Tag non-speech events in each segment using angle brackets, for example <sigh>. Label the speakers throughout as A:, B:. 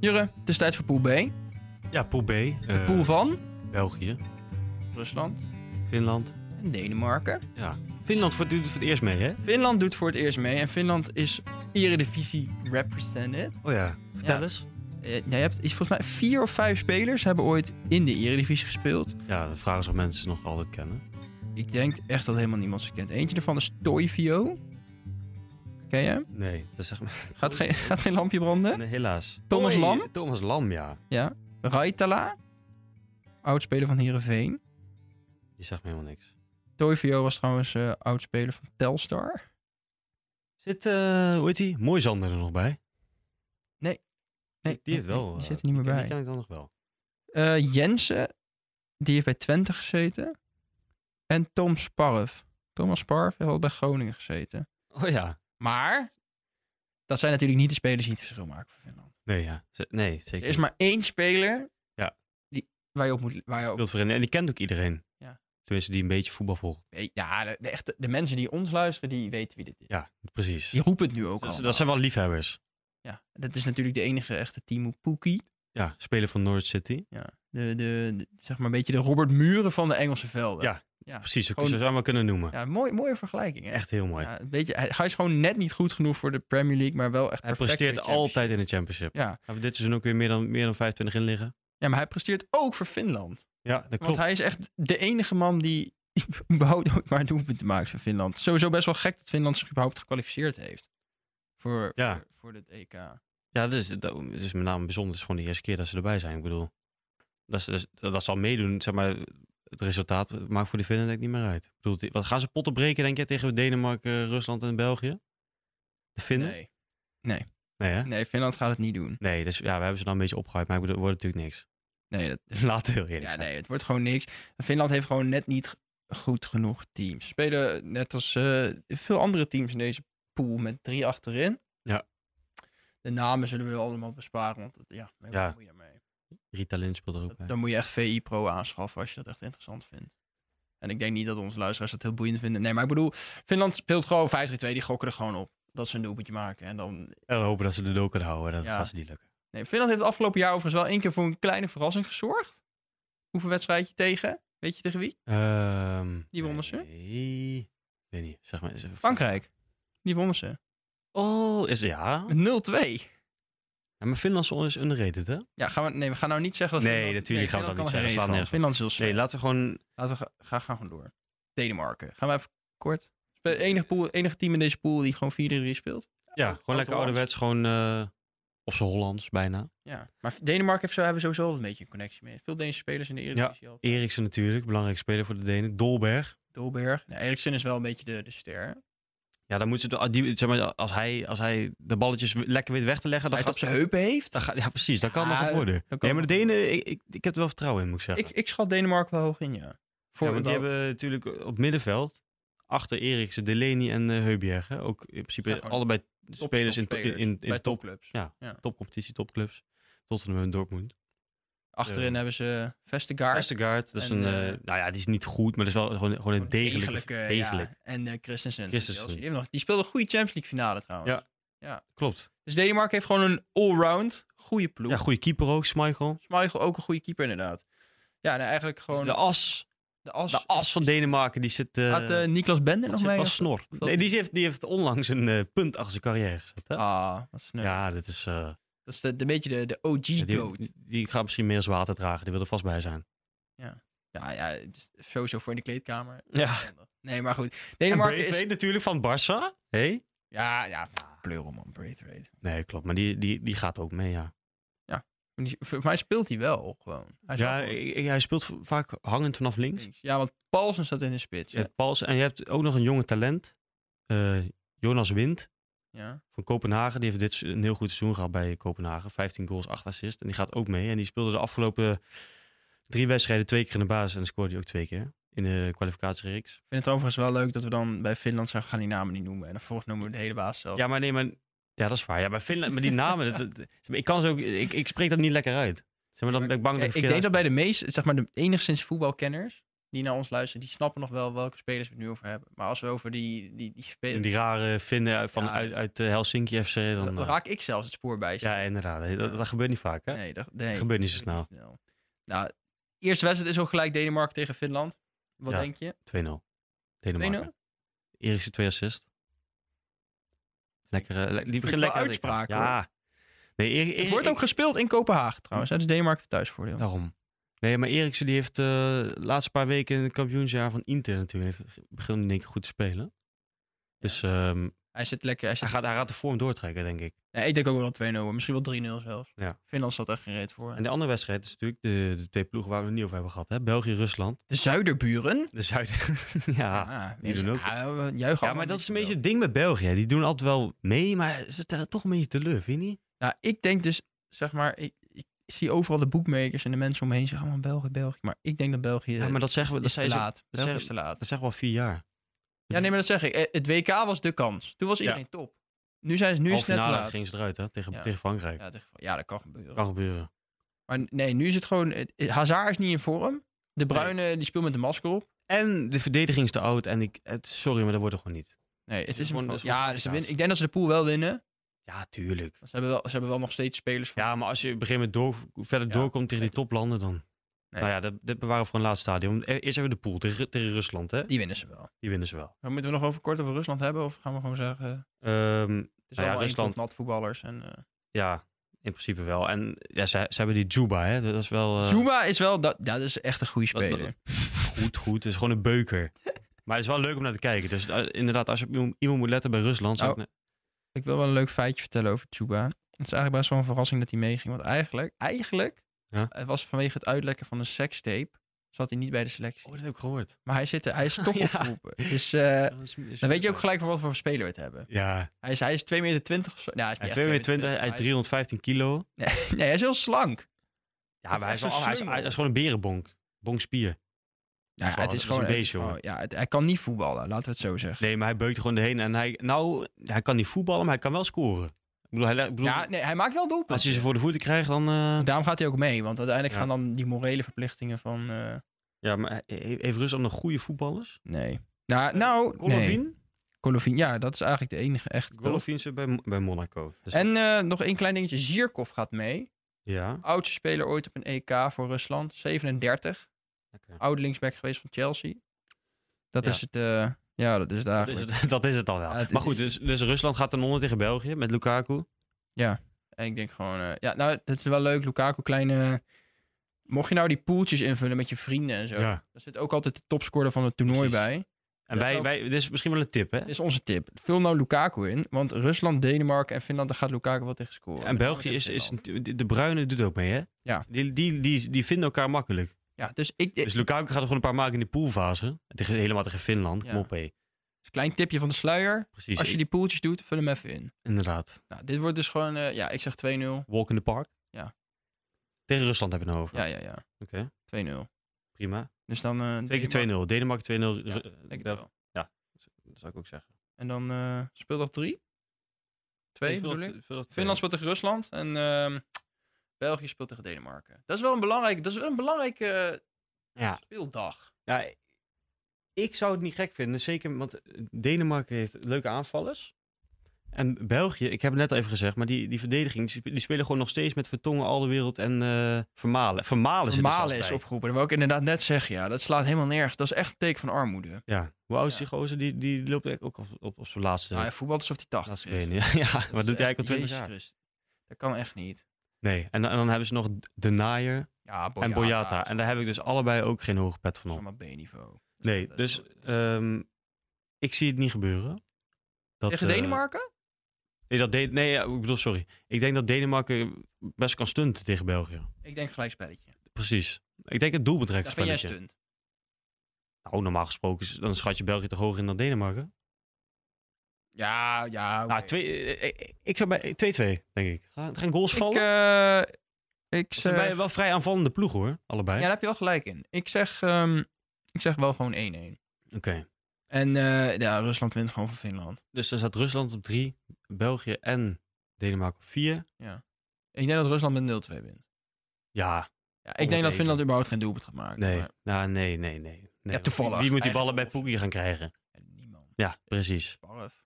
A: Jurre, het is tijd voor pool B. De
B: Ja, pool B. eh,
A: pool van
B: België,
A: Rusland
B: Finland.
A: en Denemarken.
B: Ja. Finland voor- doet het voor het eerst mee, hè?
A: Finland doet voor het eerst mee en Finland is Eredivisie represented.
B: Oh ja. Vertel
A: Ja.
B: eens.
A: Eh, nou, je hebt iets, volgens mij vier of vijf spelers hebben ooit in de Eredivisie gespeeld.
B: Ja, de vraag is of mensen ze nog altijd kennen.
A: Ik denk echt dat helemaal niemand ze kent. Eentje daarvan is Toivio. Ken je hem?
B: Nee, dat zeg maar.
A: Gaat geen, <laughs> gaat geen lampje branden?
B: Nee, helaas.
A: Thomas
B: Oei,
A: Lam?
B: Thomas Lam, ja.
A: Ja. Raitala. Oudspeler van Heerenveen.
B: Die zegt me helemaal niks.
A: Toivio was trouwens eh oudspeler van Telstar.
B: Zit, eh hoe heet die? Mooizander er nog bij?
A: Nee,
B: die heeft
A: nee,
B: wel.
A: nee,
B: eh,
A: die zit er niet meer
B: ken-
A: bij.
B: Die ken ik dan nog wel.
A: Eh, Jensen, die heeft bij Twente gezeten. En Tom Sparv. Thomas Sparv heeft al bij Groningen gezeten.
B: Oh ja.
A: Maar dat zijn natuurlijk niet de spelers die het verschil maken voor Finland.
B: Nee, ja. Z- nee zeker.
A: Er is maar één speler
B: Ja.
A: die, waar je op moet... Waar je op,
B: Wild Vereniging. En die kent ook iedereen.
A: Ja.
B: Tenminste, die een beetje voetbal volgt.
A: Eh, ja, de, de echte, de mensen die ons luisteren, die weten wie dit is.
B: Ja, precies. Dus
A: Die roepen het nu ook
B: dat,
A: al.
B: dat zijn wel liefhebbers.
A: Ja, dat is natuurlijk de enige echte Timo Pukki.
B: Ja, speler van Norwich City.
A: Ja, de, de, de- zeg maar een beetje de Robert Muren van de Engelse velden.
B: Ja.
A: Ja.
B: Precies, zo
A: Gewoon-
B: zou je hem maar kunnen noemen.
A: Ja, mooi, mooie vergelijking. Hè?
B: Echt heel mooi.
A: Ja, een beetje, hij, hij is gewoon net niet goed genoeg voor de Premier League, maar wel echt
B: Hij
A: perfect
B: presteert
A: voor de Champions
B: altijd in de championship.
A: League. Ja.
B: Hebben we dit seizoen ook weer meer dan, meer dan 25 in liggen?
A: ja, maar hij presteert ook voor Finland.
B: Ja, dat klopt.
A: Want hij is echt de enige man die <laughs> überhaupt ook maar een doelpunt maakt voor Finland. Sowieso best wel gek dat Finland zich überhaupt gekwalificeerd heeft. Voor,
B: Ja.
A: voor, voor E dit EK.
B: Ja, dat is, dat het is met name bijzonder. Het is gewoon de eerste keer dat ze erbij zijn. Ik bedoel, dat ze, dat ze- dat ze al meedoen, zeg maar, het resultaat maakt voor de Finnen denk ik niet meer uit. Ik bedoel, die- wat gaan ze potten breken, denk je, tegen Denemarken, eh, Rusland en België? De Finnen? Nee,
A: Nee.
B: hè? Nee,
A: nee, Finland gaat het niet doen.
B: dus ja, we hebben ze dan een beetje opgehuid, maar ik bedoel, het wordt natuurlijk niks. <laughs>
A: Nee, dat,
B: Laten we heel eerlijk
A: ja,
B: zijn.
A: nee, het wordt gewoon niks. Finland heeft gewoon net niet g- goed genoeg teams. Spelen net als eh, veel andere teams in deze pool met drie achterin.
B: Ja.
A: De namen zullen we allemaal besparen, want dat- ja,
B: Ja.
A: Moet je daarmee?
B: Rita Lin speelt er ook bij.
A: Dan moet je echt VI Pro aanschaffen als je dat echt interessant vindt. En ik denk niet dat onze luisteraars dat heel boeiend vinden. Nee, maar ik bedoel, Finland speelt gewoon 5-3-2. Die gokken er gewoon op dat ze een doelpuntje maken. En dan...
B: En we hopen dat ze de doel kunnen houden. Dat
A: Ja.
B: gaat ze niet lukken.
A: nee, Finland heeft het afgelopen jaar overigens wel één keer voor een kleine verrassing gezorgd. Hoeveel wedstrijdje tegen? Weet je tegen wie?
B: Ehm,
A: Die wonnen ze?
B: Nee, ik weet niet. Zeg maar, is-
A: Frankrijk. Die wonnen ze.
B: Oh, is ja.
A: Met 0-2.
B: ja. Maar Finland is underrated, hè?
A: Ja, gaan we, nee, we gaan nou niet zeggen dat...
B: Nee, natuurlijk gaan we
A: Finland
B: dat
A: kan
B: niet
A: er
B: zeggen.
A: geen reet van. Finland is heel
B: Nee,
A: sterk.
B: laten we gewoon
A: Laten we ga- gaan, gaan gewoon door. Denemarken. Gaan we even kort. Het enige, pool, enige team in deze pool die gewoon 4-3 speelt.
B: Ja,
A: Oud-
B: gewoon
A: oud-Hollands.
B: lekker ouderwets. Gewoon eh, op zijn Hollands bijna.
A: Ja, maar Denemarken heeft zo, hebben sowieso altijd een beetje een connectie mee. Veel Deense spelers in de Eredivisie al.
B: Eriksen natuurlijk, belangrijk speler voor de Denen. Dolberg.
A: Dolberg. Nou, Eriksen is wel een beetje de, de ster. Als
B: Ja, dan moeten ze... de- ah, Die, zeg maar, als, hij, als hij de balletjes w- lekker weet weg te leggen...
A: hij
B: Dan
A: het op
B: gaat,
A: zijn heupen heeft.
B: dan gaat- ja, precies. Dan kan
A: Ja,
B: nog wat
A: dat-
B: worden.
A: dat kan
B: Nee, maar de
A: nog wat
B: Denen... Ik, ik, ik heb er wel vertrouwen in, moet ik zeggen.
A: Ik, ik schat Denemarken wel hoog in, ja. Voor
B: ja, want die
A: wel-
B: hebben natuurlijk op middenveld... Achter Eriksen, Delaney en eh Heubjerg. hè. Ook in principe
A: Ja, gewoon
B: allebei
A: top-
B: spelers, in, to-
A: topspelers
B: in, in
A: bij
B: top,
A: topclubs.
B: ja,
A: Ja.
B: topcompetitie, topclubs. Tottenham en Dortmund.
A: Achterin
B: Eh,
A: hebben ze Vestergaard.
B: Vestergaard, dat is
A: En,
B: een...
A: eh,
B: eh, nou ja, die is niet goed, maar dat is wel gewoon, gewoon een degelijke...
A: ja.
B: degelijk.
A: En eh Christensen. van
B: Christensen.
A: Chelsea. Die, heeft nog- die speelde een goede Champions League finale trouwens.
B: Ja. Klopt.
A: Dus Denemarken heeft gewoon een allround goede ploeg.
B: Ja, goede keeper ook, Schmeichel.
A: Schmeichel ook een goede keeper inderdaad. Ja, nou, eigenlijk gewoon
B: Dus De
A: de,
B: as,
A: as.
B: de as van Denemarken, die zit... eh
A: Had eh, Niklas Bender nog
B: zit
A: mee?
B: wel snor.
A: dat-
B: Nee, die heeft, die heeft onlangs een eh, punt achter zijn carrière gezet. Hè?
A: Ah, wat sneu.
B: Ja, dat is... eh,
A: Dat is de, de beetje de, de OG-goat.
B: die, die gaat misschien meer als water dragen. Die wil er vast bij zijn.
A: Ja, ja, het is sowieso voor in de kleedkamer.
B: Ja.
A: Nee, maar goed.
B: En
A: Denemarken
B: Braithwaite
A: is...
B: natuurlijk van Barça. Hé?
A: Ja, ja. Pleuroman, Braithwaite.
B: Nee, klopt. Maar die, die, die gaat ook mee, ja.
A: Maar die- Voor mij speelt hij wel gewoon. Hij is
B: Ja,
A: wel gewoon
B: ik- ik- hij speelt v- vaak hangend vanaf links.
A: links. ja, want Paulsen staat in de spits.
B: Je
A: Ja.
B: hebt Pauls, en je hebt ook nog een jonge talent. eh, Jonas Wind
A: ja.
B: van Kopenhagen. Die heeft dit se- een heel goed seizoen gehad bij Kopenhagen. 15 goals, 8 assists. En die gaat ook mee. En die speelde de afgelopen drie wedstrijden twee keer in de basis. En dan scoorde hij ook twee keer in de kwalificatiereeks.
A: Ik vind het overigens wel leuk dat we dan bij Finland zijn we gaan die namen niet noemen. En dan volgens noemen we de hele baas zelf.
B: Ja, maar nee, maar... Ja, dat is waar. Ja, bij Finland... Maar die namen... dat- dat- ik kan ze ook... Ik, ik spreek dat niet lekker uit. Zeg maar, dan ben ik bang dat
A: Eh, ik,
B: ik
A: ik denk
B: verkeerd
A: dat bij de meeste, zeg maar de enigszins voetbalkenners, die naar ons luisteren, die snappen nog wel welke spelers we het nu over hebben. Maar als we over die, die, die
B: En
A: spelers...
B: die rare vinden uit- van,
A: Ja.
B: uit, uit eh, Helsinki FC. Dan,
A: Dan
B: eh,
A: raak ik zelfs het spoor bij.
B: ja, inderdaad. Hey, Dat, dat gebeurt niet vaak, hè?
A: Nee, dat nee,
B: Gebeurt niet zo snel.
A: Nou, eerste wedstrijd is ook gelijk Denemarken tegen Finland. Wat
B: Ja.
A: denk je?
B: 2-0. Denemarken. Eriksen 2 assist. Lekker, eh, die
A: ik
B: begint
A: wel
B: lekker. aan de
A: uitspraak,
B: kant. Ja. Nee, Erik,
A: Het
B: Erik-
A: wordt ook gespeeld in Kopenhagen trouwens. hè, Dus Denemarken heeft thuisvoordeel.
B: Daarom. Nee, maar Eriksen die heeft eh, de laatste paar weken in het kampioensjaar van Inter natuurlijk. Heeft, begint in één keer goed te spelen. Dus ehm,
A: Hij zit lekker. Hij zit...
B: hij, gaat, hij gaat de vorm doortrekken, denk ik.
A: Nee, ik denk ook wel dat 2-0. wordt, Misschien wel 3-0 zelfs.
B: Ja.
A: Finland staat echt gereed voor.
B: En de andere wedstrijd is natuurlijk de, de twee ploegen waar we het niet over hebben gehad. Hè? België, Rusland.
A: De Zuiderburen.
B: De Zuiden. <laughs> ja.
A: Ah,
B: die
A: dus-
B: doen ook-
A: ah, we juichen
B: ja, maar
A: allemaal
B: dat is een
A: niet
B: beetje het ding met België. hè. Die doen altijd wel mee, maar ze stellen toch een beetje teleur, vind je niet?
A: Ja, ik denk dus, zeg maar, ik, ik zie overal de boekmakers en de mensen omheen zeggen allemaal België, België. Maar ik denk dat België
B: Ja, maar dat zeggen we. Dat
A: is te
B: zijn ze-
A: laat. België
B: zei-
A: is te laat.
B: Dat zeggen we al vier jaar.
A: Ja, nee, maar dat zeg ik. Eh, Het WK was de kans. Toen was
B: Ja.
A: iedereen top. Nu, zijn ze, nu is
B: Halve
A: het net te
B: finale
A: laat.
B: gingen ze eruit, hè? Tegen,
A: Ja.
B: tegen Frankrijk.
A: Ja, tegen- ja, dat kan gebeuren.
B: Kan gebeuren.
A: Maar nee, nu is het gewoon... het- het- Hazard is niet in vorm. De Bruyne die speelt met de masker op.
B: En de verdediging is te oud. En ik, het, sorry, maar dat wordt er gewoon niet.
A: Nee, het is
B: is
A: hem
B: gewoon-
A: gewoon...
B: het is gewoon
A: Ja, ze
B: kaas.
A: winnen, ik denk dat ze de pool wel winnen.
B: Ja, tuurlijk.
A: Ze hebben wel, ze hebben wel nog steeds spelers voor.
B: Ja, maar als je op een gegeven moment door, verder
A: Ja,
B: doorkomt tegen die
A: zeker.
B: toplanden, dan.
A: Nee.
B: Nou ja, dat, dat bewaren we voor een laatste stadium. E- Eerst hebben we de pool tegen, tegen Rusland, hè?
A: Die winnen ze wel.
B: Die winnen ze wel.
A: Maar moeten we nog over kort over Rusland hebben? Of gaan we gewoon zeggen... Het
B: Ehm,
A: is
B: Nou ja,
A: allemaal één
B: Rusland-
A: pot nat voetballers. En, eh,
B: ja, in principe wel. En ja, ze, ze hebben die Juba, hè? Dat is wel. eh,
A: Zuma is wel... Dat, ja, dat is echt een goede
B: dat- dat-
A: speler.
B: goed, goed. Het is gewoon een beuker. maar het is wel leuk om naar te kijken. Dus eh, inderdaad, als je op iemand- iemand moet letten bij Rusland. zou
A: Nou,
B: ik-
A: Ik wil wel een leuk feitje vertellen over Chuba. Het is eigenlijk best wel een verrassing dat hij meeging. Want eigenlijk, eigenlijk
B: Ja.
A: het was vanwege het uitlekken van een sekstape, zat hij niet bij de selectie.
B: Oh, dat heb ik gehoord.
A: Maar hij zit er,
B: <laughs>
A: hij is toch
B: Ja.
A: opgeroepen. Dus eh,
B: Dat is- is-
A: dan weet je ook gelijk voor wat voor speler we het hebben.
B: Ja,
A: Hij is, hij is 2 meter 20 of zo. Ja, hij is
B: hij
A: niet
B: is
A: echt
B: 2 meter 20, hij is
A: maar
B: 315 kilo.
A: hij- Nee, hij is heel slank.
B: Ja,
A: Dat
B: maar hij
A: is
B: is,
A: echt
B: wel- oh,
A: een
B: hij, is,
A: slungel.
B: hij is gewoon een berenbonk. Bonkspier.
A: Ja,
B: Gewoon,
A: het
B: dat
A: is
B: is
A: gewoon
B: een
A: het is
B: beestje, hoor.
A: gewoon- ja, het- hij kan niet voetballen, laten we het zo zeggen.
B: Nee, maar hij beukt er gewoon heen. En hij, nou, hij kan niet voetballen, maar hij kan wel scoren. Ik bedoel, hij, le- ik bedoel
A: Ja, nee, hij maakt wel
B: als
A: doelpunten.
B: je ze voor de voeten krijgt, dan... eh,
A: Daarom gaat hij ook mee, want uiteindelijk
B: Ja.
A: gaan dan die morele verplichtingen van... eh,
B: ja, maar e- he- heeft Rusland nog goede voetballers?
A: nee. Nou, nou nee.
B: Eh, Golovin?
A: Golovin, ja, dat is eigenlijk de enige echt. wel.
B: Golovin zit bij, bij Monaco. Dus-
A: En eh, nog één klein dingetje. Zierkov gaat mee.
B: Ja.
A: Oudste speler ooit op een EK voor Rusland. 37.
B: Oké.
A: Oud linksback geweest van Chelsea. Dat
B: Ja.
A: is het. eh, ja, dat is het
B: Dat
A: eigenlijk.
B: is, het, <laughs> dat is het dan wel.
A: Ja, het-
B: maar goed, dus, dus Rusland gaat dan onder tegen België met Lukaku.
A: En ik denk gewoon. eh, ja, nou, dat is wel leuk. Lukaku, kleine. Mocht je nou die poeltjes invullen met je vrienden en zo. Daar zit ook altijd de topscorer van het toernooi
B: Precies.
A: bij.
B: En
A: Dat is
B: wij,
A: ook-
B: wij, dit is misschien wel een tip, hè?
A: Dat is onze tip. Vul nou Lukaku in. Want Rusland, Denemarken en Finland, daar gaat Lukaku wel tegen scoren.
B: En België is... is de Bruine doet ook mee, hè?
A: Ja.
B: Die, die, die, die vinden elkaar makkelijk.
A: Ja, dus ik.
B: Dus Lukaku gaat er gewoon een paar maken in de poolfase. Tegen, helemaal tegen Finland.
A: Ja.
B: Kom op, hé.
A: Klein tipje van de sluier.
B: Precies.
A: Als je
B: Ik-
A: die poeltjes doet, vul hem even in.
B: Inderdaad.
A: Nou, dit wordt dus gewoon, eh, ja, ik zeg 2-0.
B: Walk in the park.
A: Ja.
B: Tegen Rusland hebben we het nou over.
A: Ja, ja, ja.
B: Oké,
A: 2-0.
B: prima.
A: Dus dan... eh
B: Twee
A: Denemarken-
B: keer 2-0. Denemarken 2-0.
A: Ja,
B: Ru-
A: denk het
B: dat,
A: wel.
B: dat zou ik ook zeggen.
A: En dan eh speeldag 3? 2 bedoel ik? Finland
B: Finland
A: speelt tegen Rusland en ehm, België speelt tegen Denemarken. Dat is wel een belangrijke, dat is wel een belangrijke eh,
B: Ja.
A: speeldag.
B: Ja, ik zou het niet gek vinden. Zeker, want Denemarken heeft leuke aanvallers. En België, ik heb het net al even gezegd, maar die, die verdediging, die sp- die spelen gewoon nog steeds met Vertongen, Alderwereld en eh, Vermalen. Vermalen, zit er
A: Malen
B: zelfs
A: is
B: bij.
A: opgeroepen. Dat wil ik inderdaad net zeggen, ja. Dat slaat helemaal nergens. Dat is echt een teken van armoede.
B: Ja, hoe oud is
A: Ja.
B: die gozer? Die, die loopt eigenlijk ook op, op, op zijn laatste,
A: Nou, hij voetbalt alsof hij 80
B: laatste
A: is.
B: benen. <laughs> Ja, ja. maar
A: Dat is
B: doet hij
A: echt-
B: eigenlijk al 20
A: Jezus
B: jaar.
A: Christus. Dat kan echt niet.
B: Nee, en, dan- en dan hebben ze nog Denier
A: Oh Ja, Boyata.
B: en Boyata. En daar heb ik dus allebei ook geen hoge pet van
A: Dat is
B: op.
A: allemaal B-niveau.
B: Nee,
A: Dat is
B: dus
A: wel-
B: ehm, ik zie het niet gebeuren. Dat,
A: Tegen
B: eh,
A: Denemarken?
B: nee, dat De- nee ja, ik bedoel, sorry. Ik denk dat Denemarken best kan stunten tegen België.
A: Ik denk gelijk spelletje.
B: Precies. Ik denk het doelbetrek
A: Dat vind jij
B: spelletje.
A: stunt.
B: Nou, normaal gesproken, is- dan schat je België toch hoger in dan Denemarken?
A: Ja, ja. oké.
B: Nou, twee, eh, eh, ik zou bij 2-2, denk ik. Gaan, gaan goals vallen?
A: Ik, eh, ik
B: Ze zijn
A: zeg...
B: bij wel vrij aanvallende ploeg hoor, allebei.
A: eh, Ja, daar heb je wel gelijk in. Ik zeg, ehm, ik zeg wel gewoon 1-1.
B: Oké.
A: En eh, ja, Rusland wint gewoon van Finland.
B: Dus dan staat Rusland op 3, België en Denemarken op 4.
A: Ik denk dat Rusland met 0-2 wint.
B: Ja,
A: Ja, ik
B: het
A: denk dat
B: even.
A: Finland überhaupt geen doelpunt gaat maken.
B: nee.
A: maar-
B: Nou, nee, nee, nee. Nee,
A: Ja, toevallig.
B: Wie moet die ballen
A: Eigen
B: bij
A: goals.
B: Poekie gaan krijgen?
A: Niemand.
B: Ja, precies.
A: Barf.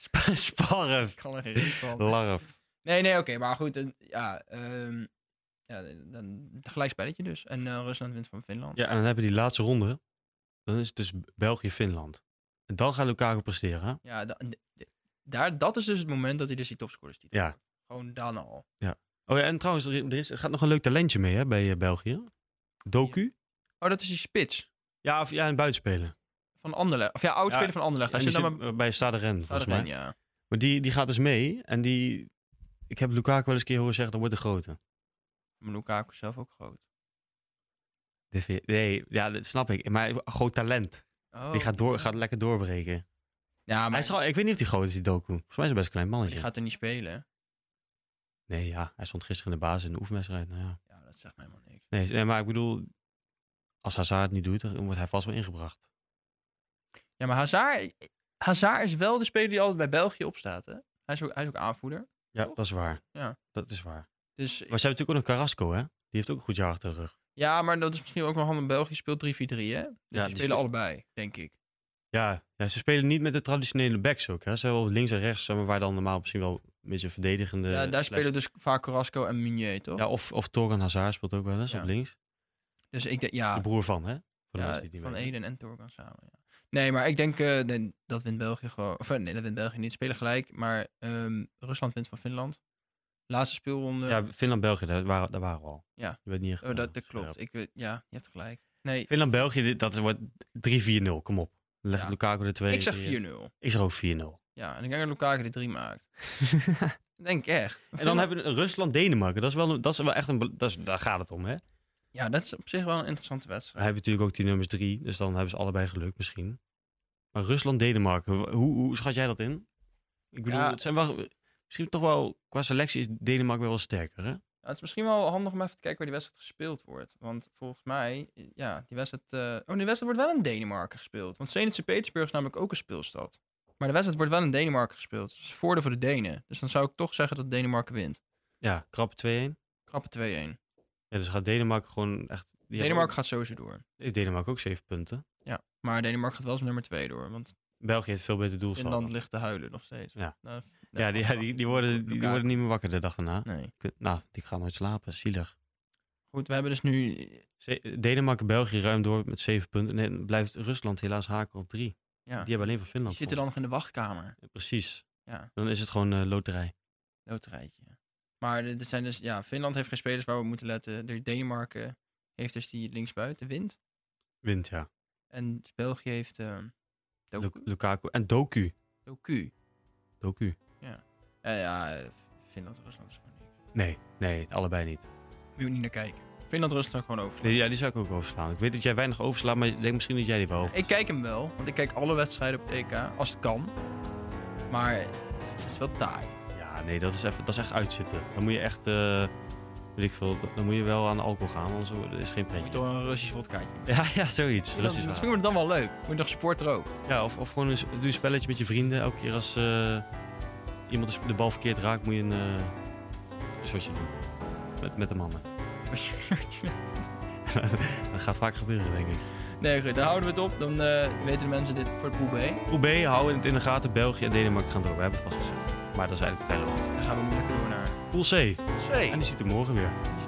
B: <laughs> Sp- Sparf.
A: Ik kan er geen reet van.
B: Larf.
A: Nee, nee, oké. maar goed. en, ja, ehm ja, dan een gelijk spelletje dus. En eh, Rusland wint van Finland.
B: Ja, en dan hebben we die laatste ronde. Dan is het dus België-Finland. En dan gaat Lukaku presteren. hè?
A: Ja, da- d- d- daar, dat is dus het moment dat hij dus die topscorers titel
B: Ja.
A: Gewoon dan al.
B: Oh ja, en trouwens, er, er is, er gaat nog een leuk talentje mee hè, bij eh, België. Doku.
A: Oh, dat is die spits
B: Ja, of, ja en buitenspeler.
A: van Anderlecht. Of ja, oudspeler
B: Ja,
A: van Anderlecht. Als
B: En
A: je
B: die
A: dan
B: zit,
A: maar...
B: eh, bij Stade Rennes, volgens mij.
A: ja.
B: Maar die, die gaat dus mee. En die... Ik heb Lukaku wel eens een keer horen zeggen, dat wordt de grote.
A: Maar Lukaku is zelf ook groot.
B: Dit vind je- Nee, ja, dat snap ik. Maar groot talent.
A: Oh,
B: die gaat, door,
A: ja.
B: gaat lekker doorbreken.
A: Ja, maar
B: Hij is trouw- ik weet niet of die groot is, die Doku. Volgens mij is hij best een klein
A: maar
B: mannetje.
A: die gaat er niet spelen.
B: Nee, ja, hij stond gisteren in de basis in de oefenwedstrijd. Nou, ja.
A: Ja, dat zegt mij helemaal niks.
B: nee, nee, maar ik bedoel, als Hazard het niet doet, dan wordt hij vast wel ingebracht.
A: Ja, maar Hazard, Hazard is wel de speler die altijd bij België opstaat, hè? Hij is ook, hij is ook aanvoerder.
B: Ja,
A: Toch?
B: dat is waar.
A: Ja.
B: Dat is waar.
A: Dus,
B: Maar ze hebben natuurlijk ook nog Carrasco, hè? Die heeft ook een goed jaar achter de rug.
A: ja, maar dat is misschien ook wel handig. België speelt 3-4-3, hè? Dus die
B: die
A: spelen
B: speel-
A: allebei, denk ik.
B: Ja, ja, ze spelen niet met de traditionele backs ook, hè? Ze hebben wel links en rechts, zeg maar, waar dan normaal misschien wel een beetje verdedigende...
A: ja, daar
B: slash-
A: spelen dus vaak Carrasco en Meunier, toch?
B: Ja, of, of Torgan Hazard speelt ook wel eens
A: Ja.
B: op links.
A: Dus ik denk, ja,
B: De broer van, hè? Voor de
A: ja,
B: mensen die het niet
A: van
B: weten.
A: Eden en Torgan samen. Ja. Nee, maar ik denk eh, nee, dat wint België gewoon. Of eh, nee, dat wint België niet. Spelen gelijk, maar ehm, Rusland wint van Finland. Laatste speelronde.
B: Ja, Finland-België, daar waren, daar waren we al.
A: Ja.
B: Je bent niet echt...
A: oh, dat, dat
B: eh,
A: klopt. Ik weet, ja, je hebt gelijk. Nee,
B: Finland-België, dit- dat wordt 3-4-0. Kom op. Leg
A: Ja.
B: Lukaku de 2.
A: ik zeg 4-0.
B: Ik zeg ook 4-0.
A: Ja, en ik denk dat Lukaku de 3
B: <laughs>
A: maakt. Ik denk echt.
B: en dan hebben we Rusland-Denemarken. Dat is wel, een- dat is wel echt een... be- Dat is, daar gaat het om, hè?
A: Ja, dat is op zich wel een interessante
B: Hij
A: wedstrijd.
B: hebben natuurlijk ook die nummers 3. Dus dan hebben ze allebei geluk misschien. Maar Rusland-Denemarken, hoe, hoe schat jij dat in? Ik bedoel,
A: Ja.
B: het zijn wel... Misschien toch wel... Qua selectie is Denemarken wel wat sterker, hè?
A: Ja, het is misschien wel handig om even te kijken waar die wedstrijd gespeeld wordt. Want volgens mij, ja, die wedstrijd... eh, Oh, die wedstrijd wordt wel in Denemarken gespeeld. Want Zenit Sint-Petersburg is namelijk ook een speelstad. Maar de wedstrijd wordt wel in Denemarken gespeeld. Dus het is voordeel voor de Denen. Dus dan zou ik toch zeggen dat Denemarken wint.
B: Ja, krap 2-1. Ja,
A: Krappe 2-1.
B: dus gaat Denemarken gewoon echt... die hebben
A: Denemarken
B: ook-
A: gaat sowieso door.
B: heeft Denemarken ook 7 punten.
A: Maar Denemarken gaat wel als nummer 2 door. Want
B: België heeft veel beter doelsaldo.
A: Finland ligt te huilen nog steeds.
B: Ja.
A: Nou,
B: Ja, die, ja, die, die, worden, die, die worden niet meer wakker de dag daarna.
A: Nee.
B: Ik- Nou, die gaan nooit slapen. Zielig.
A: Goed, we hebben dus nu...
B: Ze- Denemarken, België ruim door met zeven punten. En dan blijft Rusland helaas haken op drie.
A: Ja,
B: Die hebben alleen van
A: die
B: Finland.
A: zitten dan nog in de wachtkamer.
B: gewonnen. Precies.
A: Ja.
B: Dan is het gewoon eh, loterij.
A: loterijtje. Maar er er zijn dus, ja, Finland heeft geen spelers waar we op moeten letten. De- Denemarken heeft dus die linksbuiten, Wind.
B: Wint, ja.
A: En België heeft ehm Doku.
B: Lu- Lukaku. En Doku.
A: Doku.
B: Doku.
A: Eh, ja, eh, Finland en Rusland is gewoon niks.
B: Nee, nee, allebei niet.
A: Moet je niet naar kijken. Finland en Rusland gewoon over.
B: Nee, ja, die zou ik ook overslaan. Ik weet dat jij weinig overslaat, maar ik denk misschien dat jij die wel.
A: Ik kijk hem wel, want ik kijk alle wedstrijden op het EK, als het kan. Maar het is wel taai.
B: Ja, nee, dat is, even, dat is echt uitzitten. Dan moet je echt, eh, weet ik veel, dan moet je wel aan de alcohol gaan, anders wordt- is geen
A: Moet je
B: pretje.
A: toch een Russisch vodkaatje.
B: Ja, ja, zoiets.
A: Dat, dat
B: Russisch
A: vind ik dan wel leuk. Moet je nog sport er ook. <laughs>
B: Ja, of, of gewoon een, s- doe een spelletje met je vrienden. Elke keer als eh, iemand de sp- de bal verkeerd raakt, moet je een, eh een shotje doen. Met, met de mannen. dat gaat vaak gebeuren, denk ik.
A: nee, goed, dan houden we het op. Dan eh, weten de mensen dit voor de poel B.
B: Groep B, hou het in de gaten. België en Denemarken gaan door. We hebben het vast gezegd. Maar dat is eigenlijk het hele land.
A: Dan gaan we nu lekker door naar
B: Pool C.
A: C.
B: En die ziet er morgen weer.
A: Tot